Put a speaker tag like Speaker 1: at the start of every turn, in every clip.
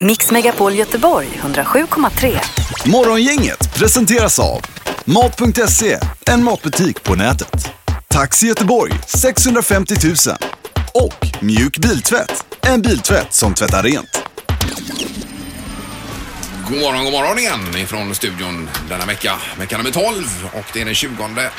Speaker 1: Mix Megapol Göteborg 107,3.
Speaker 2: Morgongänget presenteras av Mat.se, en matbutik på nätet. Taxi Göteborg 650 000. Och Mjuk Biltvätt, en biltvätt som tvättar rent.
Speaker 3: God morgon, god morgon igen ifrån studion denna vecka. Vecka nummer 12 och det är den 20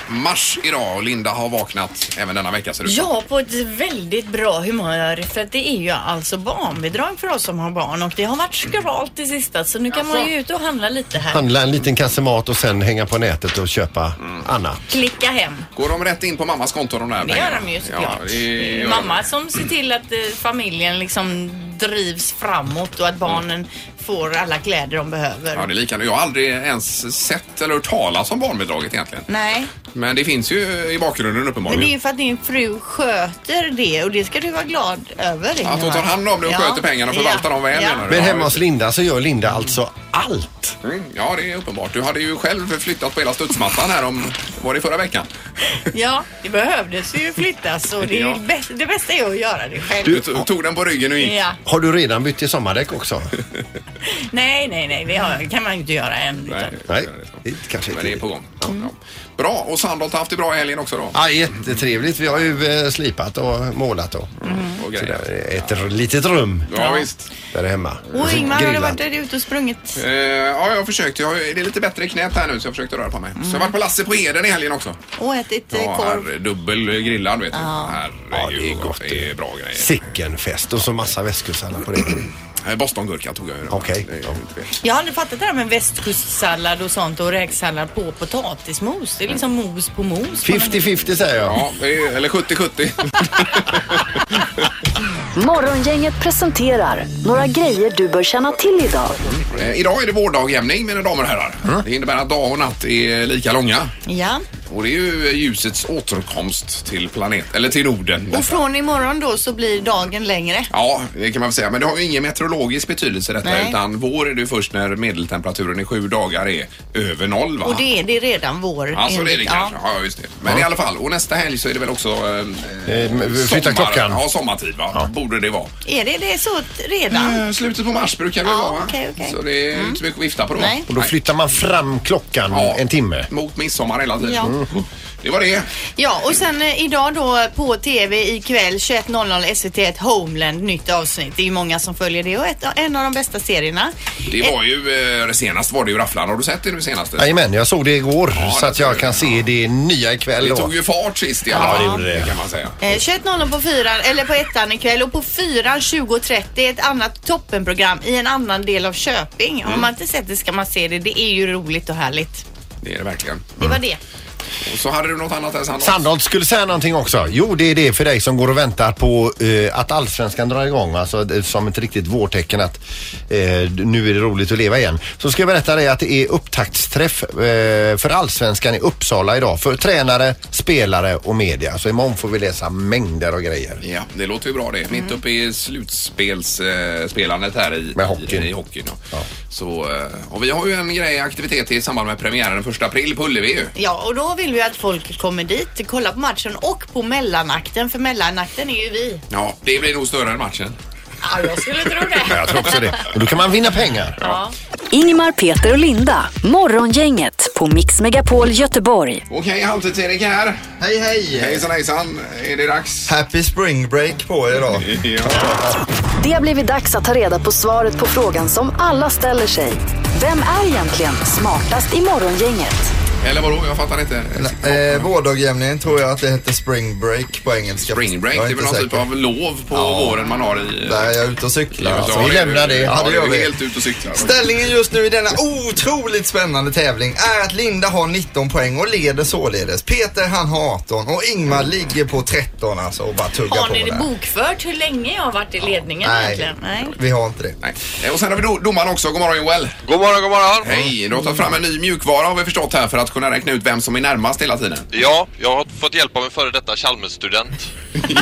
Speaker 3: mars idag och Linda har vaknat även denna vecka ser det ut som.
Speaker 4: Ja, på ett väldigt bra humör för att det är ju alltså barnbidrag för oss som har barn och det har varit skralt i sista så nu kan man ju ut och handla lite här.
Speaker 5: Handla en liten kasse mat och sen hänga på nätet och köpa annat.
Speaker 4: Klicka hem.
Speaker 3: Går de rätt in på mammas konto de där
Speaker 4: Det gör de ju såklart.
Speaker 3: Ja,
Speaker 4: Det
Speaker 3: det
Speaker 4: är
Speaker 3: gör
Speaker 4: ju
Speaker 3: de.
Speaker 4: Mamma som ser till att eh, familjen liksom drivs framåt och att barnen får alla kläder
Speaker 3: Ja,
Speaker 4: de
Speaker 3: det
Speaker 4: behöver.
Speaker 3: är lika nu. Jag har aldrig ens sett eller hört talas om barnbidraget egentligen.
Speaker 4: Nej,
Speaker 3: Men det finns ju i bakgrunden
Speaker 4: men det är
Speaker 3: uppenbarligen.
Speaker 4: ju för att din fru sköter det och det ska du vara glad över.
Speaker 3: Att hon
Speaker 4: Ingemar.
Speaker 3: tar hand om det och
Speaker 4: Ja.
Speaker 3: sköter pengarna och förvaltar
Speaker 4: Ja.
Speaker 3: dem väl
Speaker 4: Ja.
Speaker 3: menar du?
Speaker 5: Men
Speaker 3: Ja,
Speaker 5: hemma hos
Speaker 3: just
Speaker 5: Linda så gör Linda alltså allt.
Speaker 3: det. Mm, Ja, det är uppenbart. Du hade ju själv flyttat på hela studsmattan här om, var det förra veckan?
Speaker 4: Ja, det behövdes ju flyttas och det, är
Speaker 3: Ja.
Speaker 4: ju bäst, det bästa är att göra det själv.
Speaker 3: Du to- tog den på ryggen och gick.
Speaker 4: Ja.
Speaker 5: Har du redan bytt till sommardäck också?
Speaker 4: Nej, nej, nej, det har, kan man ju inte göra än. utan-
Speaker 5: Nej, det kanske
Speaker 3: Men det är
Speaker 5: inte.
Speaker 3: på gång. Ja, ja. Bra, och Sandholt har haft det bra i helgen också då.
Speaker 5: Ja, jättetrevligt. Vi har ju eh, slipat och målat och
Speaker 4: Mm.
Speaker 3: Och
Speaker 5: så
Speaker 3: grejer.
Speaker 5: där. Ett r- litet rum
Speaker 3: Ja, visst.
Speaker 5: där hemma.
Speaker 4: Och Ingmar, har du
Speaker 5: Grillat.
Speaker 4: varit där ute och sprungit?
Speaker 3: Eh, ja, jag har försökt. Jag har, det är lite bättre i knät här nu så jag försökte röra på mig. Så jag har varit på Lasse på Eden i helgen också.
Speaker 4: Och ätit eh,
Speaker 3: Ja,
Speaker 4: korv?
Speaker 3: här, dubbel grillad vet du.
Speaker 5: Ja,
Speaker 3: Herregud,
Speaker 5: det är gott.
Speaker 3: Det är bra grejer.
Speaker 5: Sicken fest och så massa väskosallad på det.
Speaker 3: Eh, Bostongurka tog jag ju.
Speaker 5: Okej.
Speaker 3: Det är inte fel.
Speaker 4: Jag har aldrig fattat det här med västkustsallad och sånt och räksallad på potatismos. Det är liksom mos på mos.
Speaker 5: 50-50 säger jag.
Speaker 3: Ja, det är- eller 70-70.
Speaker 1: Morgongänget presenterar några grejer du bör känna till idag.
Speaker 3: Eh, Idag är det vårdagjämning mina damer och herrar.
Speaker 5: Mm.
Speaker 3: Det innebär att dag och natt är lika långa.
Speaker 4: Ja.
Speaker 3: Och det är ju ljusets återkomst till planet, eller till Norden.
Speaker 4: Och från imorgon då så blir dagen längre.
Speaker 3: Ja, det kan man väl säga. Men det har ju ingen meteorologisk betydelse detta
Speaker 4: Nej.
Speaker 3: utan vår är det ju först när medeltemperaturen i sju dagar är över noll va?
Speaker 4: Och det är det redan vår.
Speaker 3: Alltså det är det
Speaker 4: enligt-
Speaker 3: kanske.
Speaker 4: Ja.
Speaker 3: Ja, just det. Men i alla fall. Och nästa helg så är det väl också... eh,
Speaker 5: Eh, men flytta
Speaker 3: sommar-
Speaker 5: klockan.
Speaker 3: Ja, sommartid va? Borde det vara.
Speaker 4: Är det, det är så t- redan?
Speaker 3: Eh, Slutet på mars brukar det
Speaker 4: Ja,
Speaker 3: vara va?
Speaker 4: okej, okej. Mm.
Speaker 3: Så det är inte så mycket att vifta på då.
Speaker 4: Nej.
Speaker 5: Och då flyttar man fram klockan
Speaker 3: Ja.
Speaker 5: en timme.
Speaker 3: Mot midsommar hela tiden.
Speaker 4: Ja.
Speaker 3: Mm. Det var det.
Speaker 4: Ja, och sen eh, idag då på TV ikväll 21.00 SVT1 E Homeland, nytt avsnitt. Det är ju många som följer det och ett, en av de bästa serierna.
Speaker 3: Det var ju... eh, Senast var det ju Rafflan. Har du sett det nu senaste?
Speaker 5: Jajamän, jag såg det igår så
Speaker 3: det
Speaker 5: att jag
Speaker 3: ser
Speaker 5: kan se det nya ikväll
Speaker 3: Det
Speaker 5: då.
Speaker 3: tog ju fart sist i alla
Speaker 5: Ja, det
Speaker 3: fall.
Speaker 5: gjorde det.
Speaker 3: kan man säga.
Speaker 4: Eh, 21.00 på fyran, eller på ettan ikväll och på fyran 20.30 ett annat toppenprogram i en annan del av Köping.
Speaker 3: Mm.
Speaker 4: Har man inte sett det ska man se det. Det är ju roligt och härligt.
Speaker 3: Det är det verkligen.
Speaker 4: Det var det.
Speaker 3: Och så hade du något annat där Sandholt?
Speaker 5: Sandholt skulle säga någonting också. Jo, det är det för dig som går och väntar på eh, att allsvenskan drar igång. Alltså eh, som ett riktigt vårtecken att eh, nu är det roligt att leva igen. Så ska jag berätta dig att det är upptaktsträff eh, för allsvenskan i Uppsala idag. För tränare, spelare och media. Så imorgon får vi läsa mängder av grejer.
Speaker 3: Ja, det låter ju bra det. Mitt uppe i slutspelsspelandet här i,
Speaker 5: Med hockeyn.
Speaker 3: i, i hockeyn. Ja.
Speaker 5: Ja.
Speaker 3: Så, eh, och vi har ju en grej, aktivitet i samband med premiären den 1 april på Ullevi ju.
Speaker 4: Ja, och då vill vi att folk kommer dit, kollar på matchen och på mellanakten, för mellanakten är ju vi.
Speaker 3: Ja, det blir nog större än matchen.
Speaker 4: Ja, jag skulle tro
Speaker 5: Ja, jag
Speaker 4: det.
Speaker 5: tror också det. Och då kan man vinna pengar.
Speaker 4: Ja.
Speaker 1: Ingmar, Peter och Linda. Morgongänget på Mix Megapol Göteborg.
Speaker 3: Okej, Halvtids-Erik här.
Speaker 6: Hej hej!
Speaker 3: Hejsan hejsan, är det dags?
Speaker 6: Happy spring break på er då.
Speaker 3: Ja.
Speaker 1: Det har blivit dags att ta reda på svaret på frågan som alla ställer sig. Vem är egentligen smartast i morgongänget?
Speaker 3: Eller vadå, jag fattar inte.
Speaker 6: Eh, Vårdagjämningen tror jag att det heter spring break på engelska.
Speaker 3: Spring break, det
Speaker 6: Jag
Speaker 3: är
Speaker 6: är
Speaker 3: väl
Speaker 6: inte
Speaker 3: någon typ
Speaker 6: säker.
Speaker 3: av lov på våren man har i...
Speaker 6: Där jag är ute och cyklar.
Speaker 3: Ja,
Speaker 6: alltså.
Speaker 5: vi lämnar det.
Speaker 3: Ja,
Speaker 6: Ja, det
Speaker 3: det
Speaker 6: gör
Speaker 3: är
Speaker 6: vi.
Speaker 3: helt ute och cyklar.
Speaker 6: Ställningen just nu i denna otroligt spännande tävling är att Linda har 19 poäng och leder således. Peter han har 18 och Ingmar ligger på 13 alltså och bara tuggar
Speaker 4: Har
Speaker 6: på
Speaker 4: ni det
Speaker 6: där.
Speaker 4: bokfört hur länge jag har varit i ledningen
Speaker 6: Nej,
Speaker 4: egentligen? Nej.
Speaker 6: vi har inte det.
Speaker 3: Nej. Eh, Och sen har vi do- domaren också. God morgon Joel.
Speaker 7: God morgon, god morgon.
Speaker 3: Hej, du har tagit fram en ny mjukvara har vi förstått här för att kunna räkna ut vem som är närmast hela tiden.
Speaker 7: Ja, jag har fått hjälp av en före detta Chalmers-student.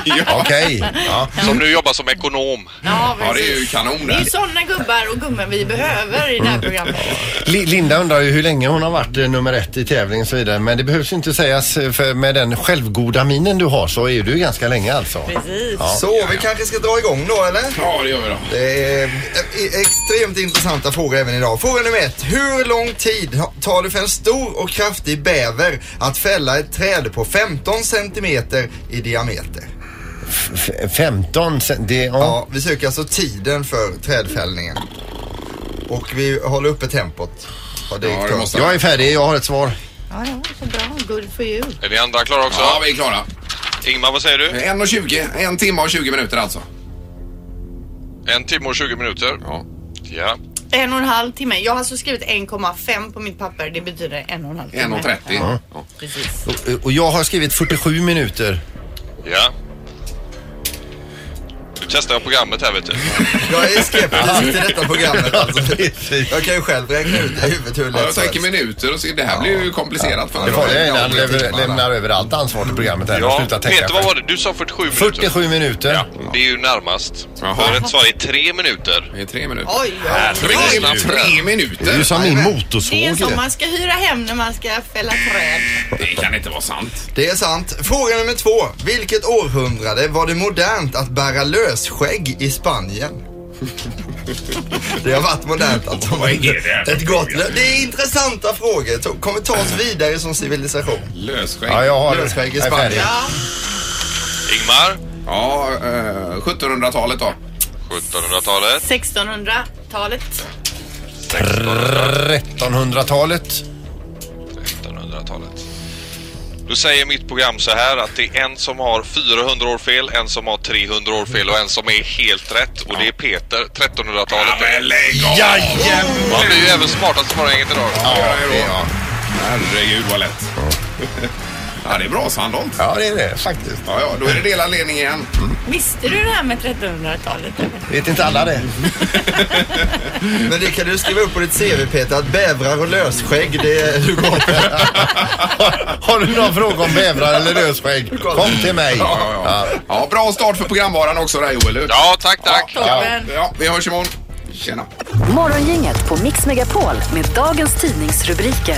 Speaker 3: ja.
Speaker 5: Okej. Ja.
Speaker 7: Som nu jobbar som ekonom.
Speaker 4: Ja,
Speaker 3: ja, det är ju
Speaker 4: precis.
Speaker 3: kanon Mm.
Speaker 4: Det är
Speaker 3: där.
Speaker 4: ju sådana gubbar och gummor vi behöver i det här programmet.
Speaker 5: Li- Linda undrar ju hur länge hon har varit eh, nummer ett i tävlingen och så vidare. Men det behövs inte sägas eh, för med den självgoda minen du har så är du ju ganska länge alltså.
Speaker 4: Precis.
Speaker 6: Så vi kanske ska dra igång då eller?
Speaker 3: Ja, det gör vi då.
Speaker 6: Det är eh, extremt intressanta frågor även idag. Fråga nummer ett. Hur lång tid tar det för en stor och kraftig bäver att fälla ett träd på 15 centimeter i diameter?
Speaker 5: F- 15 sen, det, ja.
Speaker 6: Ja, vi söker alltså tiden för trädfällningen. Och vi håller uppe tempot. Ja, det är
Speaker 3: Ja, det
Speaker 6: klart.
Speaker 3: måste-
Speaker 5: Jag är färdig, jag har ett svar.
Speaker 4: Ja, det var så bra. Good for you.
Speaker 7: Är ni andra klara också?
Speaker 3: Ja, vi är klara.
Speaker 7: Ingmar, vad säger du?
Speaker 3: 1.20, en timme och 20 minuter alltså.
Speaker 7: En timme och 20 minuter.
Speaker 3: Ja.
Speaker 7: Ja.
Speaker 4: En och en halv timme. Jag har alltså skrivit 1,5 på mitt papper. Det betyder en och en halv timme.
Speaker 3: 1.30.
Speaker 4: Ja,
Speaker 3: Ja.
Speaker 4: precis.
Speaker 5: Och, och jag har skrivit 47 minuter.
Speaker 7: Ja. Nu testar jag programmet här vet du.
Speaker 6: Jag är skeptisk till detta programmet alltså.
Speaker 5: Precis.
Speaker 6: Jag kan ju själv räkna ut i huvudet hur
Speaker 3: Ja,
Speaker 6: lätt
Speaker 3: jag
Speaker 6: som
Speaker 3: tänker
Speaker 6: helst.
Speaker 3: minuter och så. Det här blir ju komplicerat för
Speaker 5: Det
Speaker 3: mig.
Speaker 5: var det innan han
Speaker 3: Ja,
Speaker 5: lever-
Speaker 3: timmarna.
Speaker 5: lämnar över allt ansvar till programmet här.
Speaker 7: Ja,
Speaker 5: Sluta tänka
Speaker 7: Peter vad
Speaker 5: själv.
Speaker 7: var det? Du sa 47 minuter.
Speaker 5: 47 minuter.
Speaker 7: Ja, det är ju närmast.
Speaker 3: Jaha.
Speaker 7: För rätt svar är tre minuter.
Speaker 3: Det är tre minuter.
Speaker 4: Oj, oj,
Speaker 3: Tre,
Speaker 4: oj.
Speaker 3: tre, tre
Speaker 5: Det är ju
Speaker 3: minuter?
Speaker 5: som min
Speaker 4: Det är
Speaker 5: motorsåg.
Speaker 4: som
Speaker 5: det.
Speaker 4: man ska hyra hem när man ska fälla träd.
Speaker 3: Det kan inte vara sant.
Speaker 6: Det är sant. Fråga nummer två. Vilket århundrade var det modernt att bära lösskägg i Spanien? Det har varit modernt att de har
Speaker 3: Vad är det?
Speaker 6: ett gott lö- Det är intressanta frågor. To- Kommer ta oss vidare som civilisation.
Speaker 3: Lösskägg.
Speaker 5: Ja, jag har
Speaker 6: Lösskägg i
Speaker 5: jag är färdig.
Speaker 6: Spanien.
Speaker 7: Ingmar,
Speaker 3: Ja, eh, 1700-talet då.
Speaker 7: 1700-talet.
Speaker 4: 1600-talet.
Speaker 5: 1300-talet.
Speaker 7: 1900-talet. Då säger mitt program så här att det är en som har 400 år fel, en som har 300 år fel och en som är helt rätt och det är Peter, 1300-talet.
Speaker 3: lägg av!
Speaker 5: Jajamän!
Speaker 7: Man blir ju även smartast i morgongänget idag.
Speaker 5: Ja, det är jag.
Speaker 3: Herregud vad lätt. Ja, det är bra Sandholt.
Speaker 5: Ja, det är det faktiskt. Mm.
Speaker 3: Ja, ja, då är det delad ledning igen.
Speaker 4: Visste du det här med 1300-talet? eller?
Speaker 5: Vet inte alla det?
Speaker 6: Men det kan du skriva upp på ditt CV Peter, att bävrar och lösskägg, det är du går på.
Speaker 5: Har du någon fråga om bävrar eller lösskägg? Kom till mig.
Speaker 3: Ja, ja, ja. ja, bra start för programvaran också där Joel.
Speaker 7: Ja, tack, tack.
Speaker 4: Toppen.
Speaker 3: ja, vi hörs imorgon. Tjena.
Speaker 1: Morgongänget på Mix Megapol med dagens tidningsrubriker.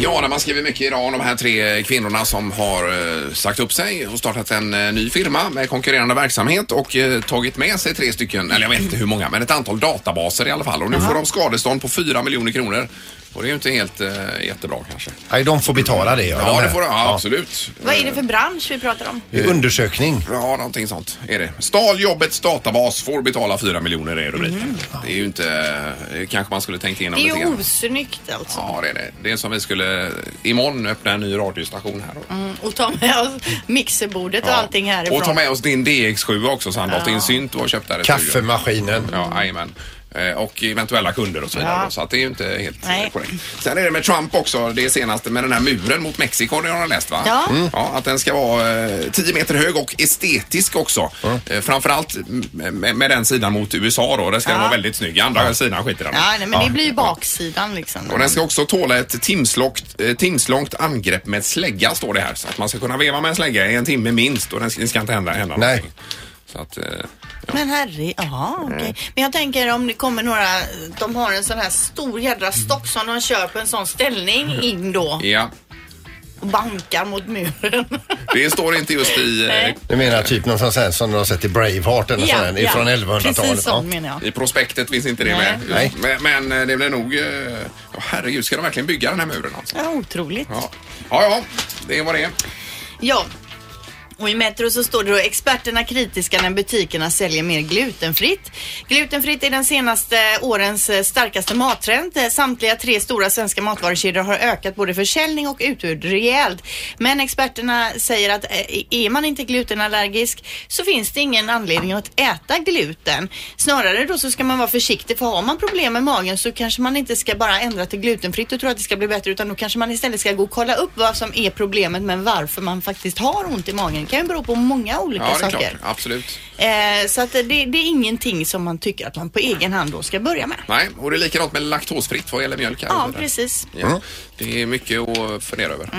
Speaker 3: Ja, när man skriver mycket idag om de här tre kvinnorna som har eh, sagt upp sig och startat en eh, ny firma med konkurrerande verksamhet och eh, tagit med sig tre stycken, eller jag vet inte hur många, men ett antal databaser i alla fall. Och nu får de skadestånd på 4 miljoner kronor. Och det är ju inte helt eh, jättebra kanske.
Speaker 5: Nej, de får betala det. de
Speaker 3: Ja,
Speaker 5: här.
Speaker 3: det får de. Ja, absolut.
Speaker 4: Vad är det för bransch vi pratar om?
Speaker 5: Det är Undersökning.
Speaker 3: Ja, någonting sånt är det. Stal jobbets databas, får betala 4 miljoner är rubriken. Det är ju inte... eh, kanske man skulle tänkt igenom
Speaker 4: Det är
Speaker 3: lite
Speaker 4: ju
Speaker 3: grann.
Speaker 4: osnyggt alltså.
Speaker 3: Ja, det är det. Det är som vi skulle imorgon öppna en ny radiostation här. Då.
Speaker 4: Och ta med oss mixerbordet och Mm, allting härifrån.
Speaker 3: Och ta med oss din DX7 också Sandholt, din synt du har köpt där i studion.
Speaker 5: Kaffemaskinen.
Speaker 3: Ja, jajamän. Eh, Och eventuella kunder och så vidare. Så att det är ju inte helt eh,
Speaker 4: Nej.
Speaker 3: korrekt. Sen är det med Trump också, det senaste med den här muren mot Mexiko, det har han läst va? Mm.
Speaker 4: Ja. Mm.
Speaker 3: ja. Att den ska vara eh, 10 meter hög och estetisk också. Eh, Framförallt m- med, med den sidan mot USA då, där ska den vara väldigt snygg. Andra sidan skiter han i.
Speaker 4: Ja, nej, men det blir ju baksidan liksom.
Speaker 3: Och den ska också tåla ett timslångt, eh, timslångt angrepp med slägga står det här. Så att man ska kunna veva med en slägga i en timme minst och den ska, det ska inte hända, hända
Speaker 5: Nej.
Speaker 3: någonting. Så att, eh,
Speaker 4: Men herre, ja okej.
Speaker 3: Mm.
Speaker 4: Men jag tänker om det kommer några, de har en sån här stor jädra stock som de kör på en sån ställning in då
Speaker 3: ja.
Speaker 4: och bankar mot muren.
Speaker 3: Det står inte just i, eh,
Speaker 5: Du menar typ någon sån här som du har sett i Braveheart eller
Speaker 4: Ja,
Speaker 5: sån här, ifrån
Speaker 4: ja.
Speaker 5: 1100-talet?
Speaker 4: Precis
Speaker 5: Ja.
Speaker 4: sån menar jag.
Speaker 3: i prospektet finns inte det med.
Speaker 5: Nej.
Speaker 3: Men, men eh, det blir nog... eh, Ja, herregud, ska de verkligen bygga den här muren alltså?
Speaker 4: Ja, otroligt.
Speaker 3: Ja, ja, ja det var det.
Speaker 4: Ja. Och i Metro så står det då experterna kritiska när butikerna säljer mer glutenfritt. Glutenfritt är den senaste årens eh, starkaste mattrend. Eh, Samtliga tre stora svenska matvarukedjor har ökat både försäljning och utbud rejält. Men experterna säger att eh, är man inte glutenallergisk så finns det ingen anledning att äta gluten. Snarare då så ska man vara försiktig för har man problem med magen så kanske man inte ska bara ändra till glutenfritt och tro att det ska bli bättre utan då kanske man istället ska gå och kolla upp vad som är problemet men varför man faktiskt har ont i magen. Det kan ju bero på många olika
Speaker 3: Ja, det är
Speaker 4: saker.
Speaker 3: klart. Absolut.
Speaker 4: Eh, så att det, det är ingenting som man tycker att man på egen hand då ska börja med.
Speaker 3: Nej, och det är likadant med laktosfritt vad gäller mjölk. här.
Speaker 4: Ja, precis. Mm.
Speaker 3: Ja.
Speaker 5: Mm.
Speaker 3: Det är mycket att fundera över.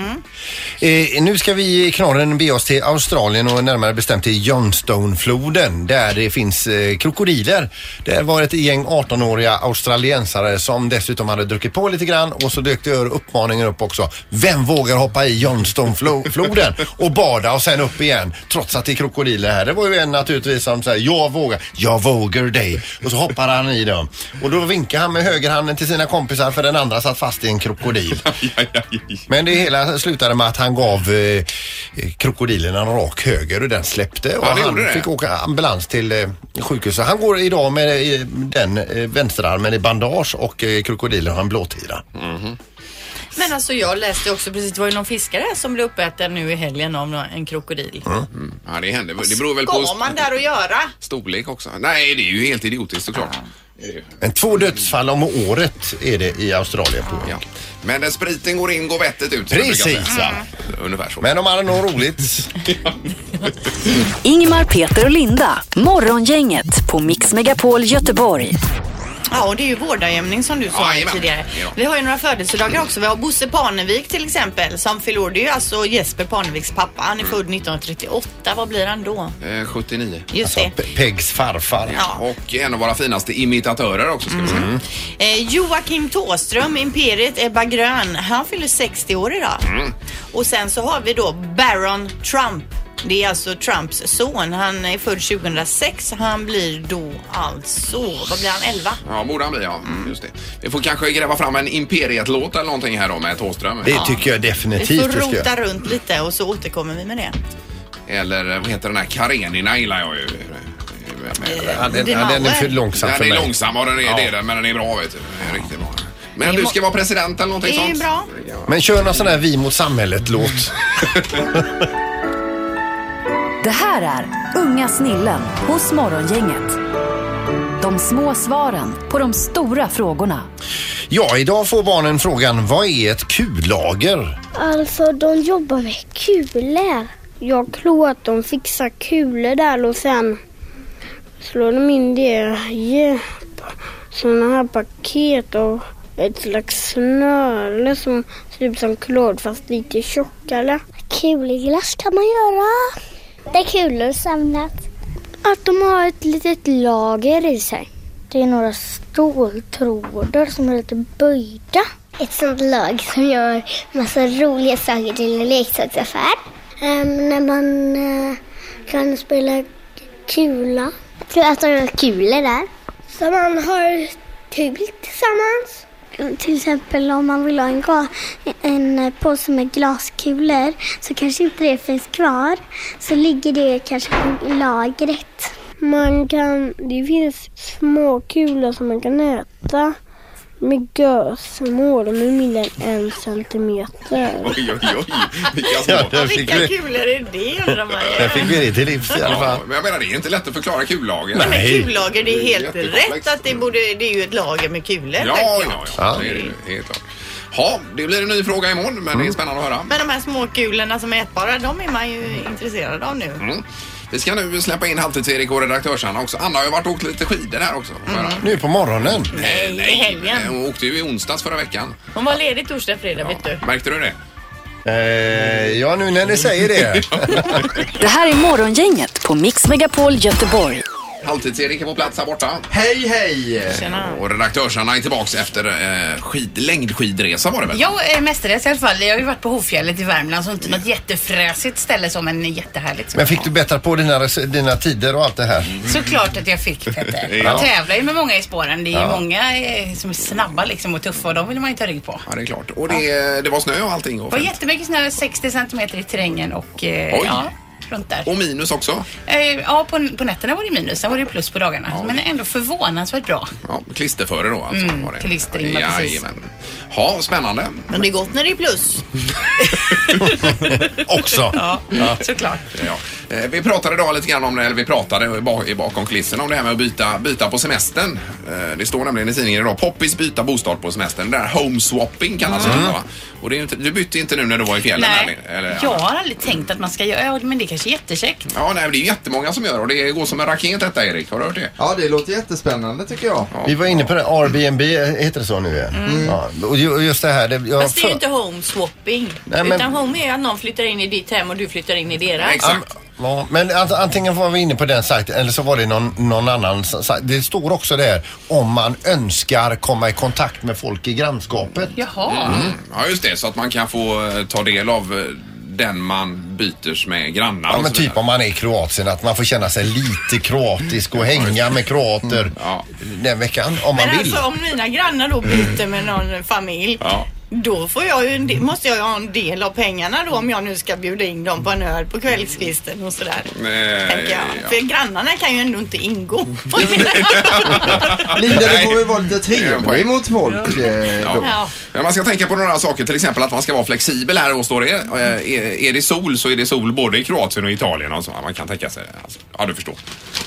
Speaker 5: Eh, nu ska vi i knorren bege oss till Australien och närmare bestämt till Johnstonefloden där det finns eh, krokodiler. Det var ett gäng 18-åriga australiensare som dessutom hade druckit på lite grann och så dök det ur uppmaningen upp också. Vem vågar hoppa i Johnstonefloden och bada och sen upp igen trots att det är krokodiler här. Det var ju en naturligtvis som säger jag vågar, jag vågar dig och så hoppar han i dem och då vinkar han med högerhanden till sina kompisar för den andra satt fast i en krokodil. Men det hela slutade med att han gav eh, eh, krokodilen en rak höger och den släppte och
Speaker 3: Ja, det
Speaker 5: han
Speaker 3: gjorde det.
Speaker 5: fick åka ambulans till eh, sjukhuset. Han går idag med eh, den eh, vänsterarmen i bandage och eh, krokodilen har en blåtira.
Speaker 8: Men alltså jag läste också precis, det var ju någon fiskare som blev uppäten nu i helgen av nå- en krokodil.
Speaker 3: Ja, det händer. Det beror väl
Speaker 4: Går
Speaker 3: på
Speaker 4: man där och göra?
Speaker 3: storlek också. Nej, det är ju helt idiotiskt såklart. Det är det ju.
Speaker 5: Men två dödsfall om året är det i Australien på.
Speaker 3: Ja. Men när spriten går in går vettet ut. som jag brukar säga.
Speaker 5: Precis ja.
Speaker 3: Ungefär så.
Speaker 5: Men de hade nog roligt.
Speaker 1: Ingmar, Peter och Linda. Morgongänget på Mix Megapol Göteborg.
Speaker 4: Ja, och det är ju vårdarjämning som du
Speaker 3: Ja,
Speaker 4: sa
Speaker 3: jajamän.
Speaker 4: tidigare.
Speaker 3: Ja.
Speaker 4: Vi har ju några födelsedagar också. Vi har Bosse Parnevik till exempel som fyller år. Det är ju alltså Jesper Parneviks pappa. Han är
Speaker 5: Mm.
Speaker 4: född 1938. Vad blir han då?
Speaker 3: Eh, 79.
Speaker 4: Just det.
Speaker 5: Alltså, P- Pegs farfar.
Speaker 4: Ja.
Speaker 3: Och en av våra finaste imitatörer också ska vi säga.
Speaker 5: Mm.
Speaker 4: Eh, Joakim Tåström, Imperiet, Ebba Grön. Han fyller 60 år idag.
Speaker 5: Mm.
Speaker 4: Och sen så har vi då Baron Trump. Det är alltså Trumps son. Han är född 2006. Han blir då alltså, vad blir han, 11?
Speaker 3: Ja, borde han bli ja.
Speaker 5: Mm.
Speaker 3: Just det. Vi får kanske gräva fram en Imperiet-låt eller någonting här då med Thåström.
Speaker 5: Det tycker jag
Speaker 4: Vi får
Speaker 5: definitivt du ska
Speaker 4: rota
Speaker 5: göra.
Speaker 4: runt lite och så återkommer vi med det.
Speaker 3: Eller eh, vad heter den här Karenina gillar jag ju. Eh,
Speaker 5: Ja, den, ja, den är för långsam
Speaker 3: Den
Speaker 5: för
Speaker 3: är
Speaker 5: mig.
Speaker 3: långsam och den är
Speaker 5: Ja.
Speaker 3: det, är den, men den är bra vet du. Den är riktigt bra. Men du ska vara president eller någonting
Speaker 4: Det är ju
Speaker 3: sånt?
Speaker 4: bra.
Speaker 5: Men kör någon sån här Vi mot samhället-låt.
Speaker 1: Det här är Unga snillen hos Morgongänget. De små svaren på de stora frågorna.
Speaker 5: Ja, idag får barnen frågan vad är ett kullager?
Speaker 9: Alltså de jobbar med kulor. Jag tror att de fixar kulor där och sen slår de in det i sådana här paket och ett slags snöre som ser ut som klod fast lite tjockare. Kulglass kan man göra. Där kulor samlat. Att de har ett litet lager i sig. Det är några ståltrådar som är lite böjda. Ett sånt lag som gör massa roliga saker till en leksaksaffär. Ehm, när man eh, kan spela kula. Jag tror att de gör kulor där. Så man har kul tillsammans. Mm, Till exempel om man vill ha en, ga- en eh, påse med glaskulor så kanske inte det finns kvar. Så ligger det kanske på lagret. Man kan, det finns små kulor som man kan äta med gösmål med mindre än en centimeter.
Speaker 3: Oj, oj, oj. Vilka
Speaker 5: Ja,
Speaker 3: små.
Speaker 5: där fick
Speaker 4: Vilka
Speaker 5: vi,
Speaker 4: kulor är det undrar man ju.
Speaker 5: där fick vi det till livs i alla fall.
Speaker 3: Ja, men jag menar det är inte lätt att förklara kullager.
Speaker 4: Men
Speaker 5: Nej.
Speaker 4: kullager, det är
Speaker 3: Det är
Speaker 4: helt
Speaker 3: jättekomplext.
Speaker 4: rätt att det, borde, det är ju ett lager med kulor.
Speaker 3: Ja, ja,
Speaker 4: självklart.
Speaker 3: ja. Det är det ju, helt klart. Ja, det blir en ny fråga imorgon men det är spännande att höra.
Speaker 4: Men de här små kulorna som är ätbara, de är man ju intresserad av nu.
Speaker 3: Mm. Vi ska nu släppa in Halvtids-Erik och redaktörs-Anna också. Anna har ju varit och åkt lite skidor här också. Mm.
Speaker 5: Nu på morgonen.
Speaker 8: Nej, i helgen.
Speaker 3: Hon åkte ju i onsdags förra veckan.
Speaker 8: Hon var ledig torsdag, fredag vet du.
Speaker 3: Märkte du det?
Speaker 5: Eh, ja, nu när ni säger det.
Speaker 1: Det här är Morgongänget på Mix Megapol Göteborg.
Speaker 3: Halvtids-Erik är på plats här borta.
Speaker 6: Hej, hej!
Speaker 8: Tjena.
Speaker 3: Och redaktörs-Anna är tillbaks efter eh, skid, längdskidresa var det väl?
Speaker 8: Jag är mestadels i alla fall. Jag har ju varit på Hovfjället i Värmland så inte något jättefräsigt ställe som en jättehärligt.
Speaker 5: Men fick du bättra på dina, res- dina tider och allt det här?
Speaker 8: Såklart att jag fick Petter.
Speaker 3: Ja.
Speaker 8: Jag tävlar ju med många i spåren. Det är ju många eh, som är snabba liksom och tuffa och de vill man ju ta rygg på.
Speaker 3: Ja, det är klart. Och det, det var snö och allting. Och,
Speaker 8: Det var
Speaker 3: fint.
Speaker 8: jättemycket snö, 60 centimeter i terrängen och eh,
Speaker 3: Oj.
Speaker 8: ja, runt där.
Speaker 3: och minus också.
Speaker 8: Eh, ja, på, på nätterna var det minus, sen var det plus på dagarna. Men ändå förvånansvärt bra.
Speaker 3: Ja, klisterföre då alltså.
Speaker 8: Mm,
Speaker 3: var det.
Speaker 8: klisterrimma,
Speaker 3: ja,
Speaker 8: precis.
Speaker 3: jajamän. Ja, spännande.
Speaker 4: Men det är gott när det är plus.
Speaker 5: Också.
Speaker 8: Ja, såklart.
Speaker 3: Ja. Eh, Vi pratade idag lite grann om det, eller vi pratade ba- i bakom kulisserna om det här med att byta, byta på semestern. Eh, Det står nämligen i tidningen idag, poppis byta bostad på semestern. Det där home swapping kallas
Speaker 5: Mm.
Speaker 3: det va? Och det är ju inte, du bytte inte nu när du var i fjällen?
Speaker 4: Nej,
Speaker 3: Eller, eller,
Speaker 4: jag har aldrig tänkt att man ska göra, ja, men det är kanske är jättekäckt.
Speaker 3: Ja, nej, men det är ju jättemånga som gör och det går som en raket detta Erik. Har du hört det?
Speaker 6: Ja, det låter jättespännande tycker jag.
Speaker 5: Vi var inne på det, Airbnb eh, heter det så nu ja. ja. Och ju- och just det här, det, jag
Speaker 4: Mm. Fast det är
Speaker 5: för-
Speaker 4: ju inte home swapping.
Speaker 5: Nej, men-
Speaker 4: Utan home är ju att någon flyttar in i ditt hem och du flyttar in i deras.
Speaker 3: Exakt.
Speaker 5: Ja, men ant- antingen var vi inne på den sajten eller så var det någon, någon annan s- sajt. Det står också där om man önskar komma i kontakt med folk i grannskapet.
Speaker 4: Jaha.
Speaker 3: Ja, just det. Så att man kan få eh, ta del av eh, den man byter med grannar
Speaker 5: Ja
Speaker 3: och
Speaker 5: men
Speaker 3: så vidare.
Speaker 5: typ om man är i Kroatien att man får känna sig lite kroatisk och hänga med kroater
Speaker 3: Ja.
Speaker 5: den veckan om man
Speaker 4: Men
Speaker 5: vill.
Speaker 4: alltså om mina grannar då byter med någon familj.
Speaker 3: Ja.
Speaker 4: Då får jag ju en del, måste jag ju ha en del av pengarna då om jag nu ska bjuda in dem på en öl på kvällskvisten och sådär.
Speaker 3: Nej,
Speaker 4: tänker
Speaker 3: Eh,
Speaker 4: jag.
Speaker 3: ja.
Speaker 4: För grannarna kan ju ändå inte ingå.
Speaker 6: Linda, du
Speaker 3: Nej.
Speaker 6: får väl vara lite trevlig mot folk eh, då.
Speaker 4: ja.
Speaker 3: Ja, man ska tänka på några saker, till exempel att man ska vara flexibel här och står det. eh, Är, är det sol så är det sol både i Kroatien och Italien. Alltså, man kan tänka sig. Alltså, ja, du förstår.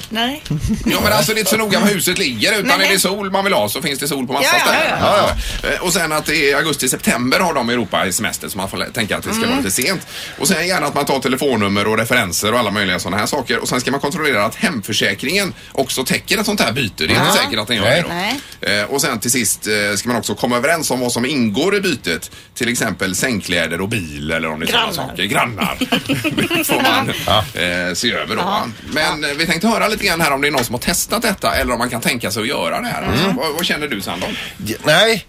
Speaker 4: Nej.
Speaker 3: Ja, men alltså det är inte så noga var huset ligger utan
Speaker 4: Nej.
Speaker 3: är det sol man vill ha så finns det sol på massa
Speaker 4: Ja, ja,
Speaker 3: ställen.
Speaker 4: ja,
Speaker 3: Eh, Och sen att det är augusti-september har de i Europa i semester så man får lä- tänka att det ska
Speaker 4: Mm.
Speaker 3: vara lite sent. Och sen gärna att man tar telefonnummer och referenser och alla möjliga sådana här saker. Och sen ska man kontrollera att hemförsäkringen också täcker ett sånt här byte. Det är inte säkert att den gör det då.
Speaker 4: Nej.
Speaker 3: Eh, Och sen till sist eh, ska man också komma överens om vad som ingår i bytet. Till exempel sängkläder och bil eller om det är sådana
Speaker 4: Grannar.
Speaker 3: saker. Grannar. Det får man eh, se över då. va? Men eh, vi tänkte höra lite grann här om det är någon som har testat detta eller om man kan tänka sig att göra det här. Alltså,
Speaker 4: Mm.
Speaker 3: vad, vad känner du Sandon?
Speaker 5: Nej.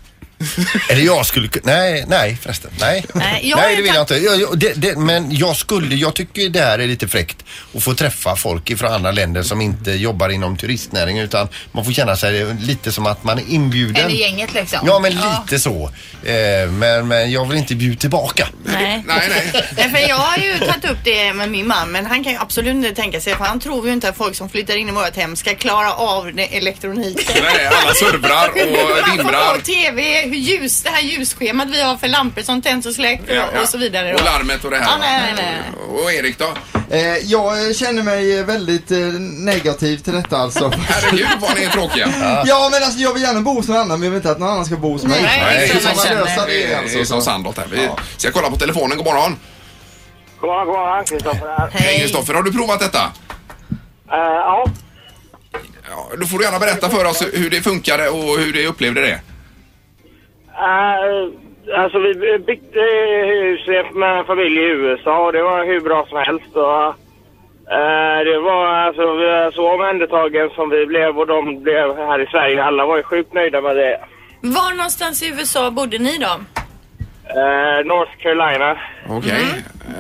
Speaker 5: Eller jag skulle ku- Nej, nej förresten. Nej,
Speaker 4: Nej, jag
Speaker 5: nej
Speaker 4: är
Speaker 5: det vill jag
Speaker 4: tack-
Speaker 5: inte. Jag, jag, det, det, men jag skulle, jag tycker det här är lite fräckt att få träffa folk från andra länder som inte jobbar inom turistnäringen utan man får känna sig lite som att man är inbjuden.
Speaker 10: Eller gänget liksom.
Speaker 5: Ja, men lite så. Eh, men, men jag vill inte bjuda tillbaka.
Speaker 4: Nej.
Speaker 3: Nej, nej.
Speaker 4: Nej, för jag har ju tagit upp det med min man men han kan ju absolut inte tänka sig för han tror ju inte att folk som flyttar in i vårt hem ska klara av det- elektroniken.
Speaker 3: nej alla servrar och
Speaker 4: Man får
Speaker 3: dimrar.
Speaker 4: Alltså, på TV, hur ljus, det här ljusschemat vi har för lampor som tänds och släcks
Speaker 3: Ja, ja.
Speaker 4: och så vidare.
Speaker 3: Och
Speaker 4: då.
Speaker 3: larmet och det här.
Speaker 4: Ja,
Speaker 3: va?
Speaker 4: nej, nej, nej.
Speaker 3: Och Erik då?
Speaker 6: Eh, jag eh, känner mig eh, väldigt eh, negativ till detta alltså.
Speaker 3: Herregud vad ni är tråkiga.
Speaker 6: Ja men alltså jag vill gärna bo hos någon annan men jag vill inte att någon annan ska bo hos mig.
Speaker 4: Nej, det är så
Speaker 6: Så
Speaker 4: man
Speaker 6: man
Speaker 4: känner.
Speaker 6: lösa
Speaker 3: Det
Speaker 6: det
Speaker 3: är
Speaker 6: alltså.
Speaker 3: som Sandholt här. Vi ska kolla på telefonen. God morgon.
Speaker 11: God morgon, god morgon. Kristoffer här.
Speaker 3: Hej Kristoffer, har du provat detta?
Speaker 11: Eh, ja,
Speaker 3: Ja, då får du gärna berätta för oss hur det funkade och hur du upplevde det.
Speaker 11: eh, alltså vi byggde hus med en familj i USA och det var hur bra som helst. Och, eh, det var alltså, vi var så omhändertagen som vi blev och de blev här i Sverige. Alla var ju sjukt nöjda med det.
Speaker 4: Var någonstans i USA bodde ni då?
Speaker 11: Eh, North Carolina.
Speaker 3: Okej.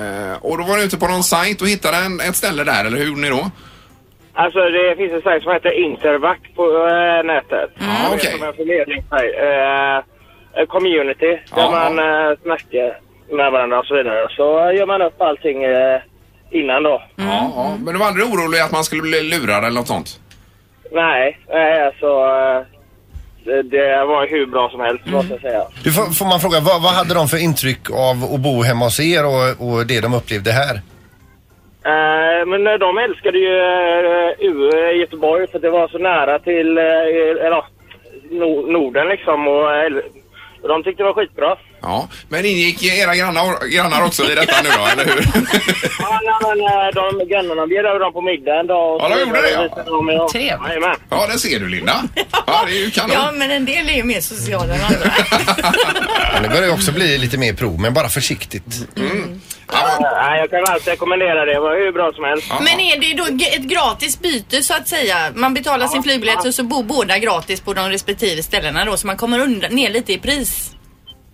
Speaker 3: Eh, och då var du ute på någon sajt och hittade en, ett ställe där, eller hur gjorde ni
Speaker 4: Mm.
Speaker 3: då?
Speaker 11: Alltså det finns en sajt som heter Intervac på eh, nätet.
Speaker 3: Ja,
Speaker 11: Det
Speaker 3: okej.
Speaker 11: är som en förmedlingssajt. Eh, en community där
Speaker 3: Ja.
Speaker 11: man eh, snackar med varandra och så vidare. Så gör man upp allting eh, innan då.
Speaker 3: Ja, ja. Men du var aldrig orolig att man skulle bli lurad eller något sånt?
Speaker 11: Nej, nej alltså eh, det, det var hur bra som helst
Speaker 3: Mm.
Speaker 11: måste jag säga.
Speaker 5: Du, får, får man fråga, vad, vad hade de för intryck av att bo hemma hos er och, och det de upplevde här?
Speaker 11: Eh, men eh, de älskade ju eh, U- eh, Göteborg för att det var så nära till eh, er- eller, ja, no, Norden liksom. Och, eh, och de tyckte det var skitbra.
Speaker 3: Ja, men ingick era grannar, grannar också i detta nu då, eller hur?
Speaker 11: Ja, nej, men eh, de grannarna bjöd över dem på middag en dag. och
Speaker 3: Ja, de
Speaker 11: så
Speaker 3: gjorde det, ja.
Speaker 11: visade de, ja.
Speaker 10: Trevligt.
Speaker 11: Jajamän.
Speaker 3: ja, det ser du Linda. Ja, det är ju kanon.
Speaker 4: Ja, men en del är ju mer sociala än andra.
Speaker 5: Men det börjar ju också bli lite mer prov, men bara försiktigt.
Speaker 3: Ja, men-
Speaker 11: Nej, jag kan alltid rekommendera det. Det var hur bra som helst.
Speaker 3: ja.
Speaker 4: Men är det då g- ett gratis byte så att säga? Man betalar sin flygbiljett och så bor båda gratis på de respektive ställena då så man kommer undan, ner lite i pris.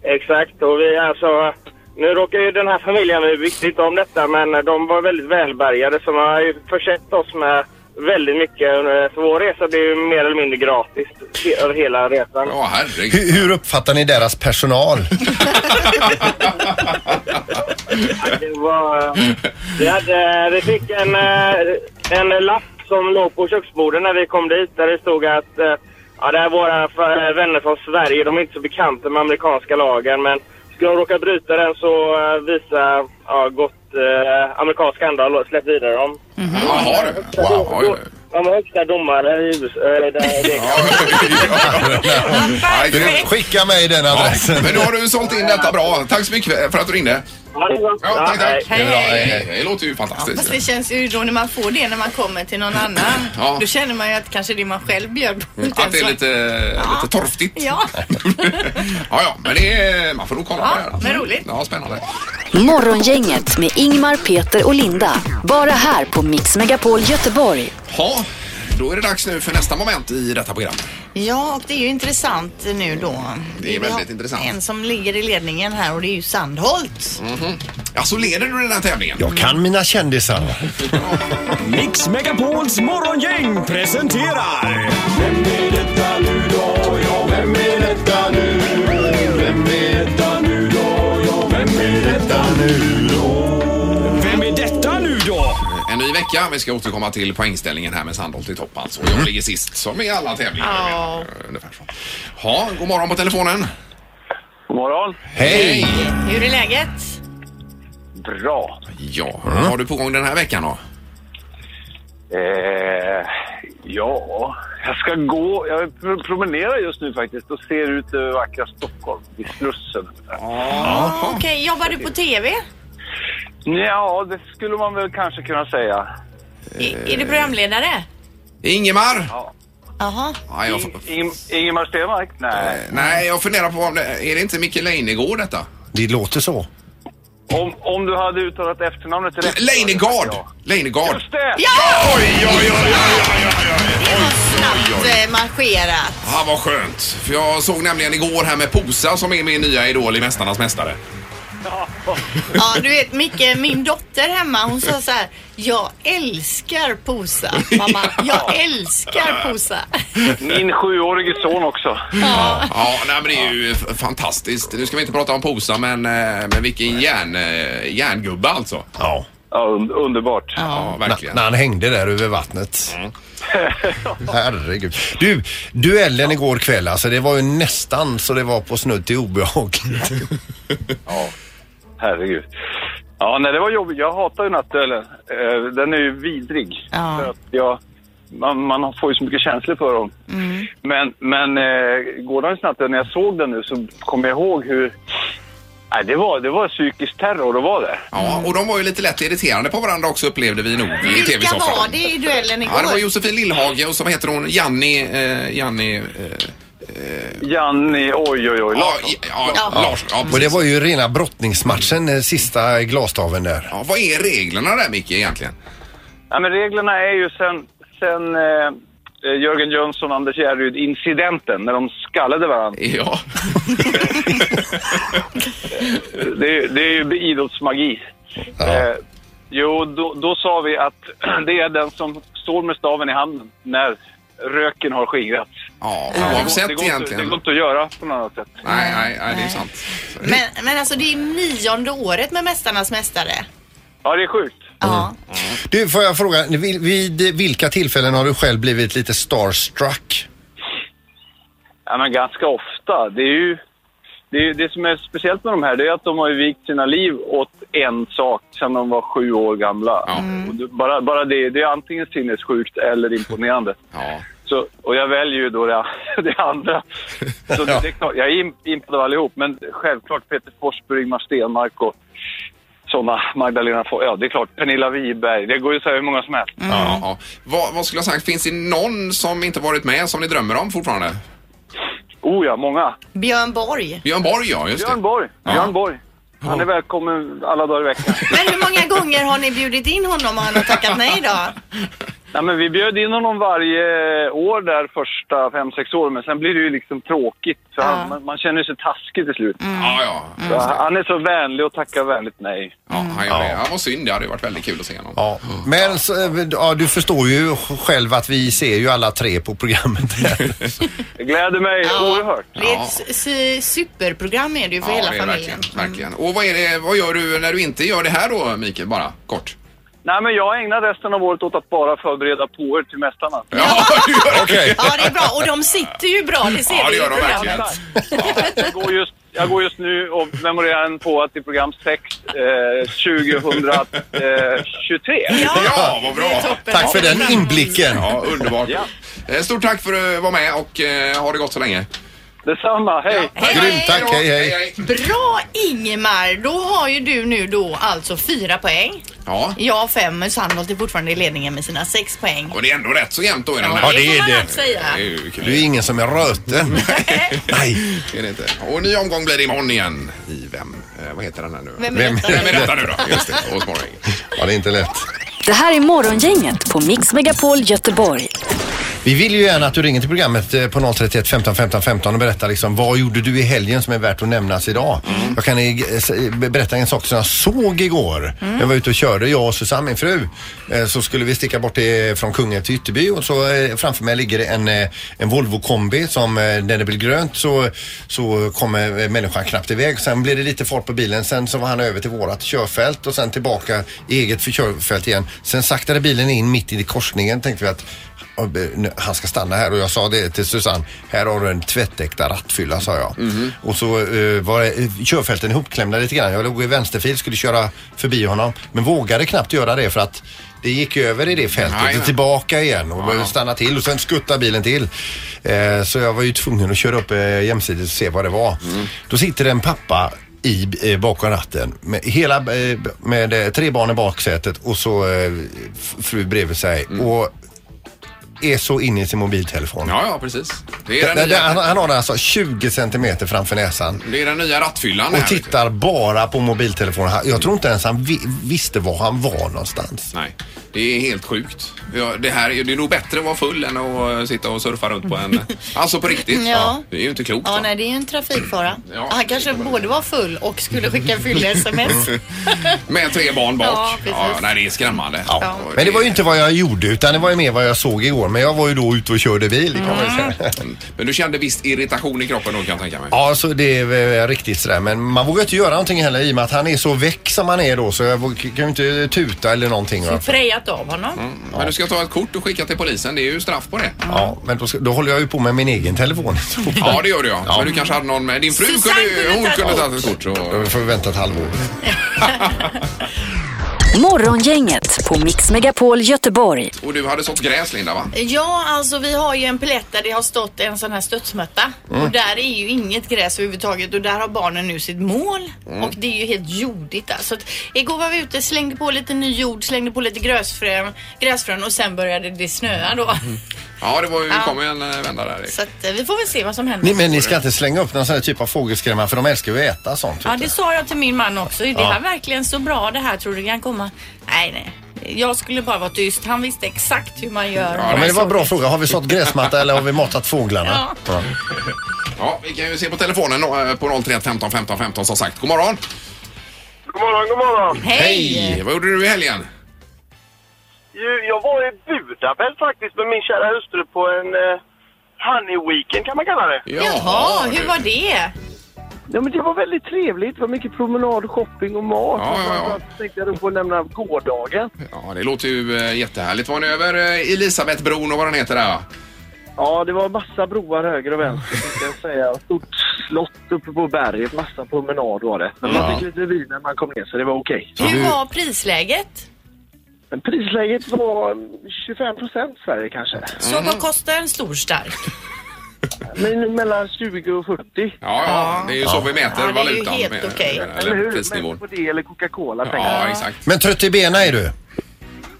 Speaker 11: Exakt. Och vi alltså... Nu råkar ju den här familjen, vi visste inte om detta, men eh, de var väldigt välbärgade som har ju försett oss med väldigt mycket. eh, Så vår resa blev ju mer eller mindre gratis he- över hela resan.
Speaker 3: Ja, herregud.
Speaker 5: Hur, hur uppfattar ni deras personal?
Speaker 11: Det var... eh, Vi, hade, vi fick en, eh, en lapp som låg på köksbordet när vi kom dit där det stod att eh, ja, det här är våra f- vänner från Sverige. De är inte så bekanta med amerikanska lagen men skulle de råka bryta den så eh, visa ja, gott
Speaker 12: eh, amerikansk anda och släppt vidare dem.
Speaker 3: Mm. Jaha du. Wow. Oj, oj.
Speaker 12: De är högsta domare i USA. eh, där- det-
Speaker 3: Nej,
Speaker 5: Du,
Speaker 3: grymt.
Speaker 5: skicka mig den
Speaker 3: Ja,
Speaker 5: adressen.
Speaker 3: Men nu har du sålt in detta bra. Tack så mycket för att du ringde.
Speaker 12: Ja, det är bra.
Speaker 3: Ja, tack,
Speaker 12: Ja,
Speaker 3: tack.
Speaker 8: Hej, hej.
Speaker 3: hej. Det låter ju
Speaker 8: Fast
Speaker 3: fantastiskt.
Speaker 8: det känns ju då när man får det när man kommer till någon annan.
Speaker 3: Ja. Mm,
Speaker 8: Då känner man ju att kanske det man själv bjöd på. inte
Speaker 3: Att det är
Speaker 8: ens var-
Speaker 3: lite, lite torftigt.
Speaker 8: Ja.
Speaker 3: ja, ja, men det är, man får nog kolla på det här.
Speaker 8: Ja, men roligt.
Speaker 3: Ja, spännande.
Speaker 1: Morgongänget med Ingmar, Peter och Linda. Bara här på Mix Megapol Göteborg.
Speaker 3: Ja, då är det dags nu för nästa moment i detta program.
Speaker 4: Ja, och det är ju intressant nu då.
Speaker 3: Det är väldigt intressant.
Speaker 4: En som ligger i ledningen här och det är ju Sandholt.
Speaker 3: Alltså leder du den här tävlingen?
Speaker 5: Jag kan mina kändisar.
Speaker 11: Mix Megapols morgongäng presenterar... Vem är detta nu då? Ja, vem är detta nu? Vem är detta nu då? Ja, vem är detta nu då? Vem är detta nu då?
Speaker 3: En ny vecka. Vi ska återkomma till poängställningen här med Sandholt i topp alltså. Och jag ligger sist som i alla tävlingar.
Speaker 8: Ja.
Speaker 3: Ungefär så. Ja, god morgon på telefonen.
Speaker 12: God morgon.
Speaker 5: Hej!
Speaker 8: Hur är läget?
Speaker 12: Bra.
Speaker 3: Ja, vad har du på gång den här veckan då?
Speaker 12: Eh, ja, jag ska gå. Jag pr- promenerar just nu faktiskt och ser ut över vackra Stockholm vid Slussen.
Speaker 8: Okej, jobbar du på TV?
Speaker 12: Ja, det skulle man väl kanske kunna säga.
Speaker 8: I, är du programledare?
Speaker 3: Ingemar!
Speaker 4: Jaha.
Speaker 3: Ja, jag, f-
Speaker 12: Ing- Ing- Ingemar Stenmark? Nej.
Speaker 3: nej, jag funderar på om det, är det inte Micke Leijnegård detta?
Speaker 5: Det låter så.
Speaker 12: Om, om du hade uttalat efternamnet rätt.
Speaker 3: Leijnegard!
Speaker 12: Ja.
Speaker 3: Leijnegard!
Speaker 12: Just det!
Speaker 3: Oj, oj, oj, oj, oj, oj, oj, oj,
Speaker 4: Snabbt
Speaker 3: oj.
Speaker 4: eh, marscherat.
Speaker 3: Ja, vad skönt. För jag såg nämligen igår här med Posa som är min nya idol i Mästarnas Mästare.
Speaker 4: Ja, du vet Micke, min dotter hemma hon sa så här. Jag älskar Posa. Mamma, jag älskar Posa.
Speaker 12: Min sjuårige son också.
Speaker 3: Ja, nej, men det är ju f- fantastiskt. Nu ska vi inte prata om Posa, men, eh, men vilken järn, eh, järngubbe alltså.
Speaker 5: Ja.
Speaker 12: Ja, un- underbart.
Speaker 3: Ja,
Speaker 5: Na-
Speaker 3: verkligen.
Speaker 5: När han hängde där över vattnet. Herregud. Du, duellen igår kväll alltså. Det var ju nästan så det var på snudd till obehag.
Speaker 12: Herregud. Ja, nej, det var jobbigt. Jag hatar ju nattduellen. Eh, Den är ju vidrig.
Speaker 4: Ja.
Speaker 12: För att jag, man, man får ju så mycket känslor för dem. Men, men eh, gårdagens nattduell, när jag såg den nu så kom jag ihåg hur... Nej, det var, det var psykisk terror, det var det.
Speaker 3: Ja, och de var ju lite lätt irriterande på varandra också upplevde vi nog i
Speaker 4: Vilka
Speaker 3: tv-soffan.
Speaker 4: var det i duellen
Speaker 3: Ja, det var
Speaker 4: igår?
Speaker 3: Josefin Lillhage och som heter hon Janni... Eh, Janni... Eh,
Speaker 12: Janni, oj, oj, oj.
Speaker 3: ja,
Speaker 12: Larsson.
Speaker 3: ja, ja, Larsson. Ja,
Speaker 5: Och det
Speaker 3: precis.
Speaker 5: var ju rena brottningsmatchen, eh, sista glastaven där.
Speaker 3: Ja, vad är reglerna där Micke egentligen?
Speaker 12: Nej, men reglerna är ju sen, sen eh, Jörgen Jönsson och Anders Järryd incidenten när de skallade varandra.
Speaker 3: Ja.
Speaker 12: Det, är- det är ju idrottsmagi. Eh, jo, då, då sa vi att det är den som står med staven i handen när röken har skingrats.
Speaker 3: Ja,
Speaker 12: det,
Speaker 3: oavsett
Speaker 12: går inte, det
Speaker 3: egentligen.
Speaker 12: går inte att göra på något annat sätt.
Speaker 3: Nej, nej, nej, det är sant.
Speaker 4: Men, men alltså det är nionde året med Mästarnas Mästare.
Speaker 12: Ja, det är sjukt.
Speaker 4: Ja.
Speaker 5: Du, får jag fråga, vil- vid vilka tillfällen har du själv blivit lite starstruck?
Speaker 12: Ja, men ganska ofta. Det är ju... Det, är, ju- det som är speciellt med de här det är att de har ju vikt sina liv åt en sak sedan de var sju år gamla. Och det, bara, bara det, det är antingen sinnessjukt eller imponerande.
Speaker 3: Ja.
Speaker 12: Så, och jag väljer ju då det, det andra. Så det, det är klart, jag är im- impad av allihop, men självklart Peter Forsberg, Ingemar Stenmark och sådana. Magdalena Fo- Ja, det är klart. Pernilla Wiberg. Det går ju så här hur många som helst.
Speaker 3: Ja, ja. Vad, vad skulle jag sagt, finns det någon som inte varit med som ni drömmer om fortfarande?
Speaker 12: Oh ja, många.
Speaker 4: Björn Borg.
Speaker 3: Björn Borg, ja just
Speaker 12: Björn
Speaker 3: det.
Speaker 12: Borg.
Speaker 3: Ja.
Speaker 12: Björn Borg. Han är välkommen alla dagar i veckan.
Speaker 4: Men hur många gånger har ni bjudit in honom och han har tackat nej då?
Speaker 12: Nej, men vi bjöd in honom varje år där första fem, sex åren, men sen blir det ju liksom tråkigt. För han, man, man känner sig taskig till slut.
Speaker 3: Ja, ja.
Speaker 12: Så han- han är så vänlig och tackar vänligt nej.
Speaker 3: ja han gör det. Ja, vad synd, det hade ju varit väldigt kul att se honom.
Speaker 5: Ja, men så, eh, ja, du förstår ju själv att vi ser ju alla tre på programmet här.
Speaker 12: Det gläder mig oerhört.
Speaker 4: Det är ett su- superprogram är det ju för
Speaker 3: Ja,
Speaker 4: hela
Speaker 3: det är
Speaker 4: familjen.
Speaker 3: Verkligen,
Speaker 12: Mm.
Speaker 3: verkligen. Och vad, är det, vad gör du när du inte gör det här då, Mikael? Bara kort.
Speaker 12: Nej, men jag ägnar resten av året åt att bara förbereda på er till mästarna.
Speaker 3: Ja, du gör det.
Speaker 5: Okej.
Speaker 4: Ja, det är bra. Och de sitter ju bra, det ser
Speaker 3: Ja, det
Speaker 4: vi i
Speaker 3: gör de
Speaker 4: programmet.
Speaker 3: verkligen.
Speaker 12: Jag går just,
Speaker 13: jag går just nu och memorerar en på att i program 6 eh, 2023.
Speaker 3: Ja, vad bra!
Speaker 5: Tack för den inblicken.
Speaker 3: Ja, underbart. Eh, Stort tack för att du var med och eh, ha det gott så länge.
Speaker 13: Detsamma, hej!
Speaker 5: Grymt, tack. Hej, hej.
Speaker 4: Bra Ingemar! Då har ju du nu då alltså fyra poäng.
Speaker 3: Ja,
Speaker 4: Jag har fem, men Sandholt är fortfarande i ledningen med sina sex poäng.
Speaker 3: och det är ändå rätt så jämnt då i den
Speaker 5: Ja,
Speaker 3: här.
Speaker 5: det är
Speaker 4: får man
Speaker 5: det.
Speaker 4: allt säga.
Speaker 3: är ju kul.
Speaker 5: Du är ingen som är röten. Nej.
Speaker 3: Det är det inte. Och ny omgång blir det imorgon igen. I vem? Eh, vad heter den här nu?
Speaker 4: Vem är
Speaker 5: Vem?
Speaker 4: detta?
Speaker 3: Vem är detta nu då? Just det, hos Morgongänget.
Speaker 5: Ja, det är inte lätt.
Speaker 1: Det här är Morgongänget på Mix Megapol Göteborg.
Speaker 5: Vi vill ju gärna att du ringer till programmet eh, på 031 15 15 15 och berättar liksom vad gjorde du i helgen som är värt att nämnas idag. Jag kan eh, s- berätta en sak som jag såg igår. Jag var ute och körde, jag och Susanne, min fru. Eh, Så skulle vi sticka bort till, från Kungälv till Ytterby och så eh, framför mig ligger det en, eh, en Volvo kombi som eh, när det blir grönt så, så kommer eh, människan knappt iväg. Sen blir det lite fart på bilen. Sen så var han över till vårat körfält och sen tillbaka i eget för- körfält igen. Sen saktade bilen in mitt i korsningen tänkte vi att och be- nu- han ska stanna här och jag sa det till Susanne. Här har du en tvättäkta rattfylla sa jag.
Speaker 3: Mhm.
Speaker 5: Och så eh, var det- körfälten ihopklämda lite grann. Jag låg i vänsterfil, skulle köra förbi honom. Men vågade knappt göra det för att det gick över i det fältet
Speaker 3: Nej, nej.
Speaker 5: och tillbaka igen och började stanna till och sen skutta bilen till. Eh, så jag var ju tvungen att köra upp eh, jämsides och se vad det var.
Speaker 3: Mm.
Speaker 5: Då sitter det en pappa i, eh, bakom ratten med, hela, eh, med eh, tre barn i baksätet och så eh, f- fru bredvid sig. Och är så inne i sin mobiltelefon.
Speaker 3: Mm. Ja, ja, precis. Det är
Speaker 5: Det-
Speaker 3: den
Speaker 5: det- han,
Speaker 3: nya,
Speaker 5: han har den alltså 20 centimeter framför näsan
Speaker 3: det är den nya rattfyllan här,
Speaker 5: och
Speaker 3: vet du.
Speaker 5: tittar bara på mobiltelefonen. Han- Jag tror inte ens han vi, visste var han var någonstans.
Speaker 3: Nej, det är helt sjukt. Ja, det, här, är- det är nog bättre att vara full än att eh, sitta och surfa runt på en... Alltså på riktigt.
Speaker 4: Ja.
Speaker 3: Det är ju inte klokt.
Speaker 4: Ja,
Speaker 3: va?
Speaker 4: nej, det är ju en trafikfara.
Speaker 3: Ja.
Speaker 4: Han kanske både var full och skulle skicka fylle-sms.
Speaker 3: Med tre barn bak.
Speaker 4: Ja, precis.
Speaker 3: nej, det är skrämmande.
Speaker 5: Ja. Men det var ju inte vad jag gjorde utan det var ju mer vad jag såg igår. Men jag var ju då ute och körde bil. kan man säga.
Speaker 3: Men du kände viss irritation i kroppen då kan jag tänka mig.
Speaker 5: Ja, så det är eh, riktigt sådär. Men man vågar inte göra någonting heller i och med att han är så väck som han är då. Så jag våg- kan ju inte tuta eller någonting. va.
Speaker 4: Prejat av honom.
Speaker 3: Men du ska ta ett kort och skicka till polisen. Det är ju straff på det.
Speaker 5: Ja, men då, ska, då håller jag ju på med min egen telefon.
Speaker 3: Ja, det gör du ja. Men du kanske hade någon med. Din fru
Speaker 4: Susanne
Speaker 3: kunde, ju-
Speaker 4: kunde
Speaker 3: hon
Speaker 4: ta ett
Speaker 3: kunde
Speaker 4: kort.
Speaker 3: ta ett kort. Och...
Speaker 5: Då får vi vänta ett halvår.
Speaker 1: Morgongänget på Mix Megapol Göteborg.
Speaker 3: Och du hade sått gräs Linda va?
Speaker 4: Ja, alltså vi har ju en plätt där det har stått en sån här studsmötta. Och där är ju inget gräs överhuvudtaget och där har barnen nu sitt mål. Och det är ju helt jordigt där. Så att igår var vi ute, slängde på lite ny jord, slängde på lite gräsfrön, gräsfrön och sen började det snöa då.
Speaker 3: Ja, det var ju,
Speaker 4: Ja.
Speaker 3: kom ju en eh, vända där.
Speaker 4: Så att eh, vi får väl se vad som händer.
Speaker 5: Ni, men ni ska inte slänga upp någon sån här typ av fågelskrämma för de älskar ju att äta sånt.
Speaker 4: Ja,
Speaker 5: vet du.
Speaker 4: det sa jag till min man också. Är det här verkligen så bra det här? Tror du det kan komma? Nej, nej. Jag skulle bara vara tyst. Han visste exakt hur man gör.
Speaker 5: Ja, men det var en bra fråga. Har vi sått gräsmatta eller har vi matat fåglarna?
Speaker 4: Ja.
Speaker 5: Ja.
Speaker 3: Ja, vi kan ju se på telefonen då, eh, på 031 15 15 15 som sagt. God morgon!
Speaker 13: God morgon, god morgon!
Speaker 4: Hej!
Speaker 3: Vad gjorde du i helgen?
Speaker 13: Ju- Jag var i Budapest faktiskt med min kära hustru på en eh, honey weekend kan man kalla det.
Speaker 4: Jaha,
Speaker 3: du.
Speaker 4: hur var det?
Speaker 13: Ja, men det var väldigt trevligt. Det var mycket promenad, shopping och mat.
Speaker 3: Ja, ja, ja.
Speaker 13: Jag tänkte jag då på att nämna gårdagen.
Speaker 3: Ja, det låter ju eh, jättehärligt. Var ni över eh, Elisabethbron och vad den heter där? va?
Speaker 13: Ja, det var massa broar höger och vänster tänkte jag säga. Stort slott uppe på berget, massa promenad var det. Men man
Speaker 5: Ja.
Speaker 13: fick lite vin när man kom ner så det var okej.
Speaker 4: Hur var prisläget?
Speaker 13: Men prisläget var mm, 25 procent Sverige kanske.
Speaker 4: Så
Speaker 5: Mm.
Speaker 4: vad kostar en stor stark?
Speaker 13: Men mellan 20 och 40.
Speaker 3: Ja, ja, det är ju så vi mäter
Speaker 4: Ja, det är ju
Speaker 3: valutan.
Speaker 4: helt
Speaker 3: med-
Speaker 4: okej.
Speaker 13: Eller
Speaker 3: Eller
Speaker 13: hur?
Speaker 3: prisnivån.
Speaker 13: Men på det eller Coca-Cola tänker jag.
Speaker 3: Ja, exakt.
Speaker 5: Men trött i benen är du?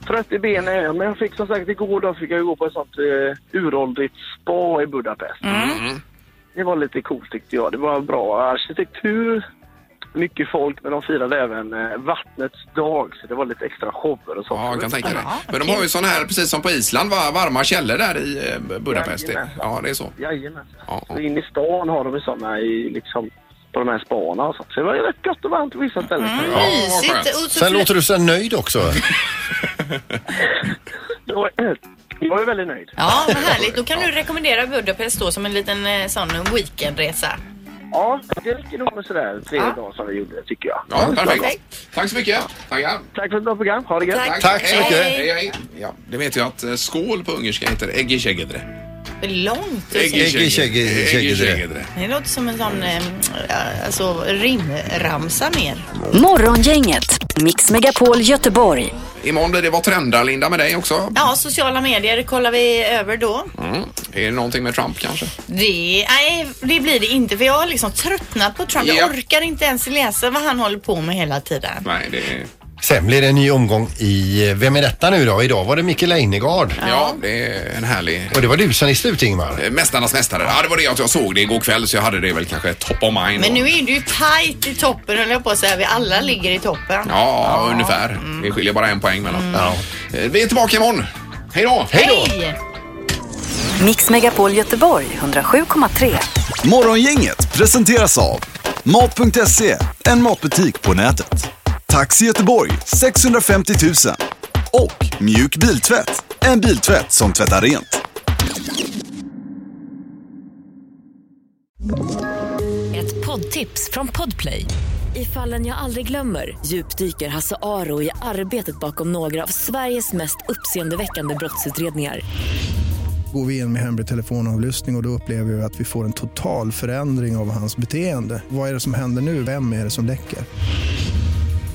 Speaker 13: Trött i benen är jag, men jag fick som sagt igår då fick jag ju gå på ett sånt eh, uråldrigt spa i Budapest.
Speaker 3: Mm.
Speaker 13: Det var lite coolt tyckte jag. Det var bra arkitektur, mycket folk, men de firade även eh, vattnets dag så det var lite extra shower och sånt.
Speaker 3: Ja, jag kan tänka det. Men de har ju sådana här, precis som på Island, va, varma källor där i eh, Budapest. Det- Ja, det är så.
Speaker 13: Jajamän.
Speaker 3: Ja, ja.
Speaker 13: Så in i stan har de ju sådana i liksom på de här spana och sånt. Så det var ju rätt gött och varmt på vissa ställen.
Speaker 3: vad
Speaker 4: Mysigt.
Speaker 3: skönt.
Speaker 4: Och så
Speaker 5: Sen låter du så nöjd också.
Speaker 13: Det var, jag var ju väldigt nöjd.
Speaker 4: Ja, vad härligt. Då kan du rekommendera Budapest då som en liten eh, sån weekendresa.
Speaker 13: Ja, det räcker nog med sådär tre dagar som vi gjorde tycker jag.
Speaker 3: Ja, perfekt. Tack så mycket. Tackar.
Speaker 13: Tack för ett bra program. Ha det gött.
Speaker 4: Tack.
Speaker 5: Tack så
Speaker 3: Hej,
Speaker 5: mycket.
Speaker 3: Hej, hej. Ja, det vet jag att eh, skål på ungerska heter äggisegedre.
Speaker 4: Långt.
Speaker 5: Eggi, tjeggi, tjeggi, tjeggi.
Speaker 4: Det låter som en sån eh, äh, alltså, rimramsa mer.
Speaker 14: Morgongänget, Mix Megapol Göteborg.
Speaker 3: Imorgon blir det Vad trendar Linda med dig också.
Speaker 4: Ja, sociala medier kollar vi över då.
Speaker 3: Mm. Är det någonting med Trump kanske?
Speaker 4: Det, nej, det blir det inte för jag har liksom tröttnat på Trump.
Speaker 3: Ja.
Speaker 4: Jag orkar inte ens läsa vad han håller på med hela tiden.
Speaker 3: Nej, det är...
Speaker 5: Sen blir det en ny omgång i eh, Vem är detta nu då? Idag var det Micke Leijnegard.
Speaker 3: Ja. det är en härlig...
Speaker 5: Och det var du som i slut Ingmar.
Speaker 3: Eh, Mästarnas mästare. Ja, det var det att jag såg det igår kväll så jag hade det väl kanske top of mind.
Speaker 4: Men
Speaker 3: då.
Speaker 4: nu är det ju tajt i toppen höll jag på att säga. Vi alla ligger i toppen.
Speaker 3: Ja, ungefär.
Speaker 4: Mm.
Speaker 3: Det skiljer bara en poäng mellan. Ja. Eh, Vi är tillbaka imorgon. Hej då!
Speaker 5: Hej då!
Speaker 4: Hej!
Speaker 14: Mix Megapol Göteborg 107,3.
Speaker 2: Morgongänget presenteras av Mat.se, en matbutik på nätet. Taxi Göteborg 650 000 och Mjuk Biltvätt, en biltvätt som tvättar rent.
Speaker 14: Ett poddtips från Podplay. I fallen jag aldrig glömmer djupdyker Hasse Aro i arbetet bakom några av Sveriges mest uppseendeväckande brottsutredningar.
Speaker 15: Går vi in med hemlig telefonavlyssning och, och då upplever vi att vi får en total förändring av hans beteende. Vad är det som händer nu? Vem är det som läcker?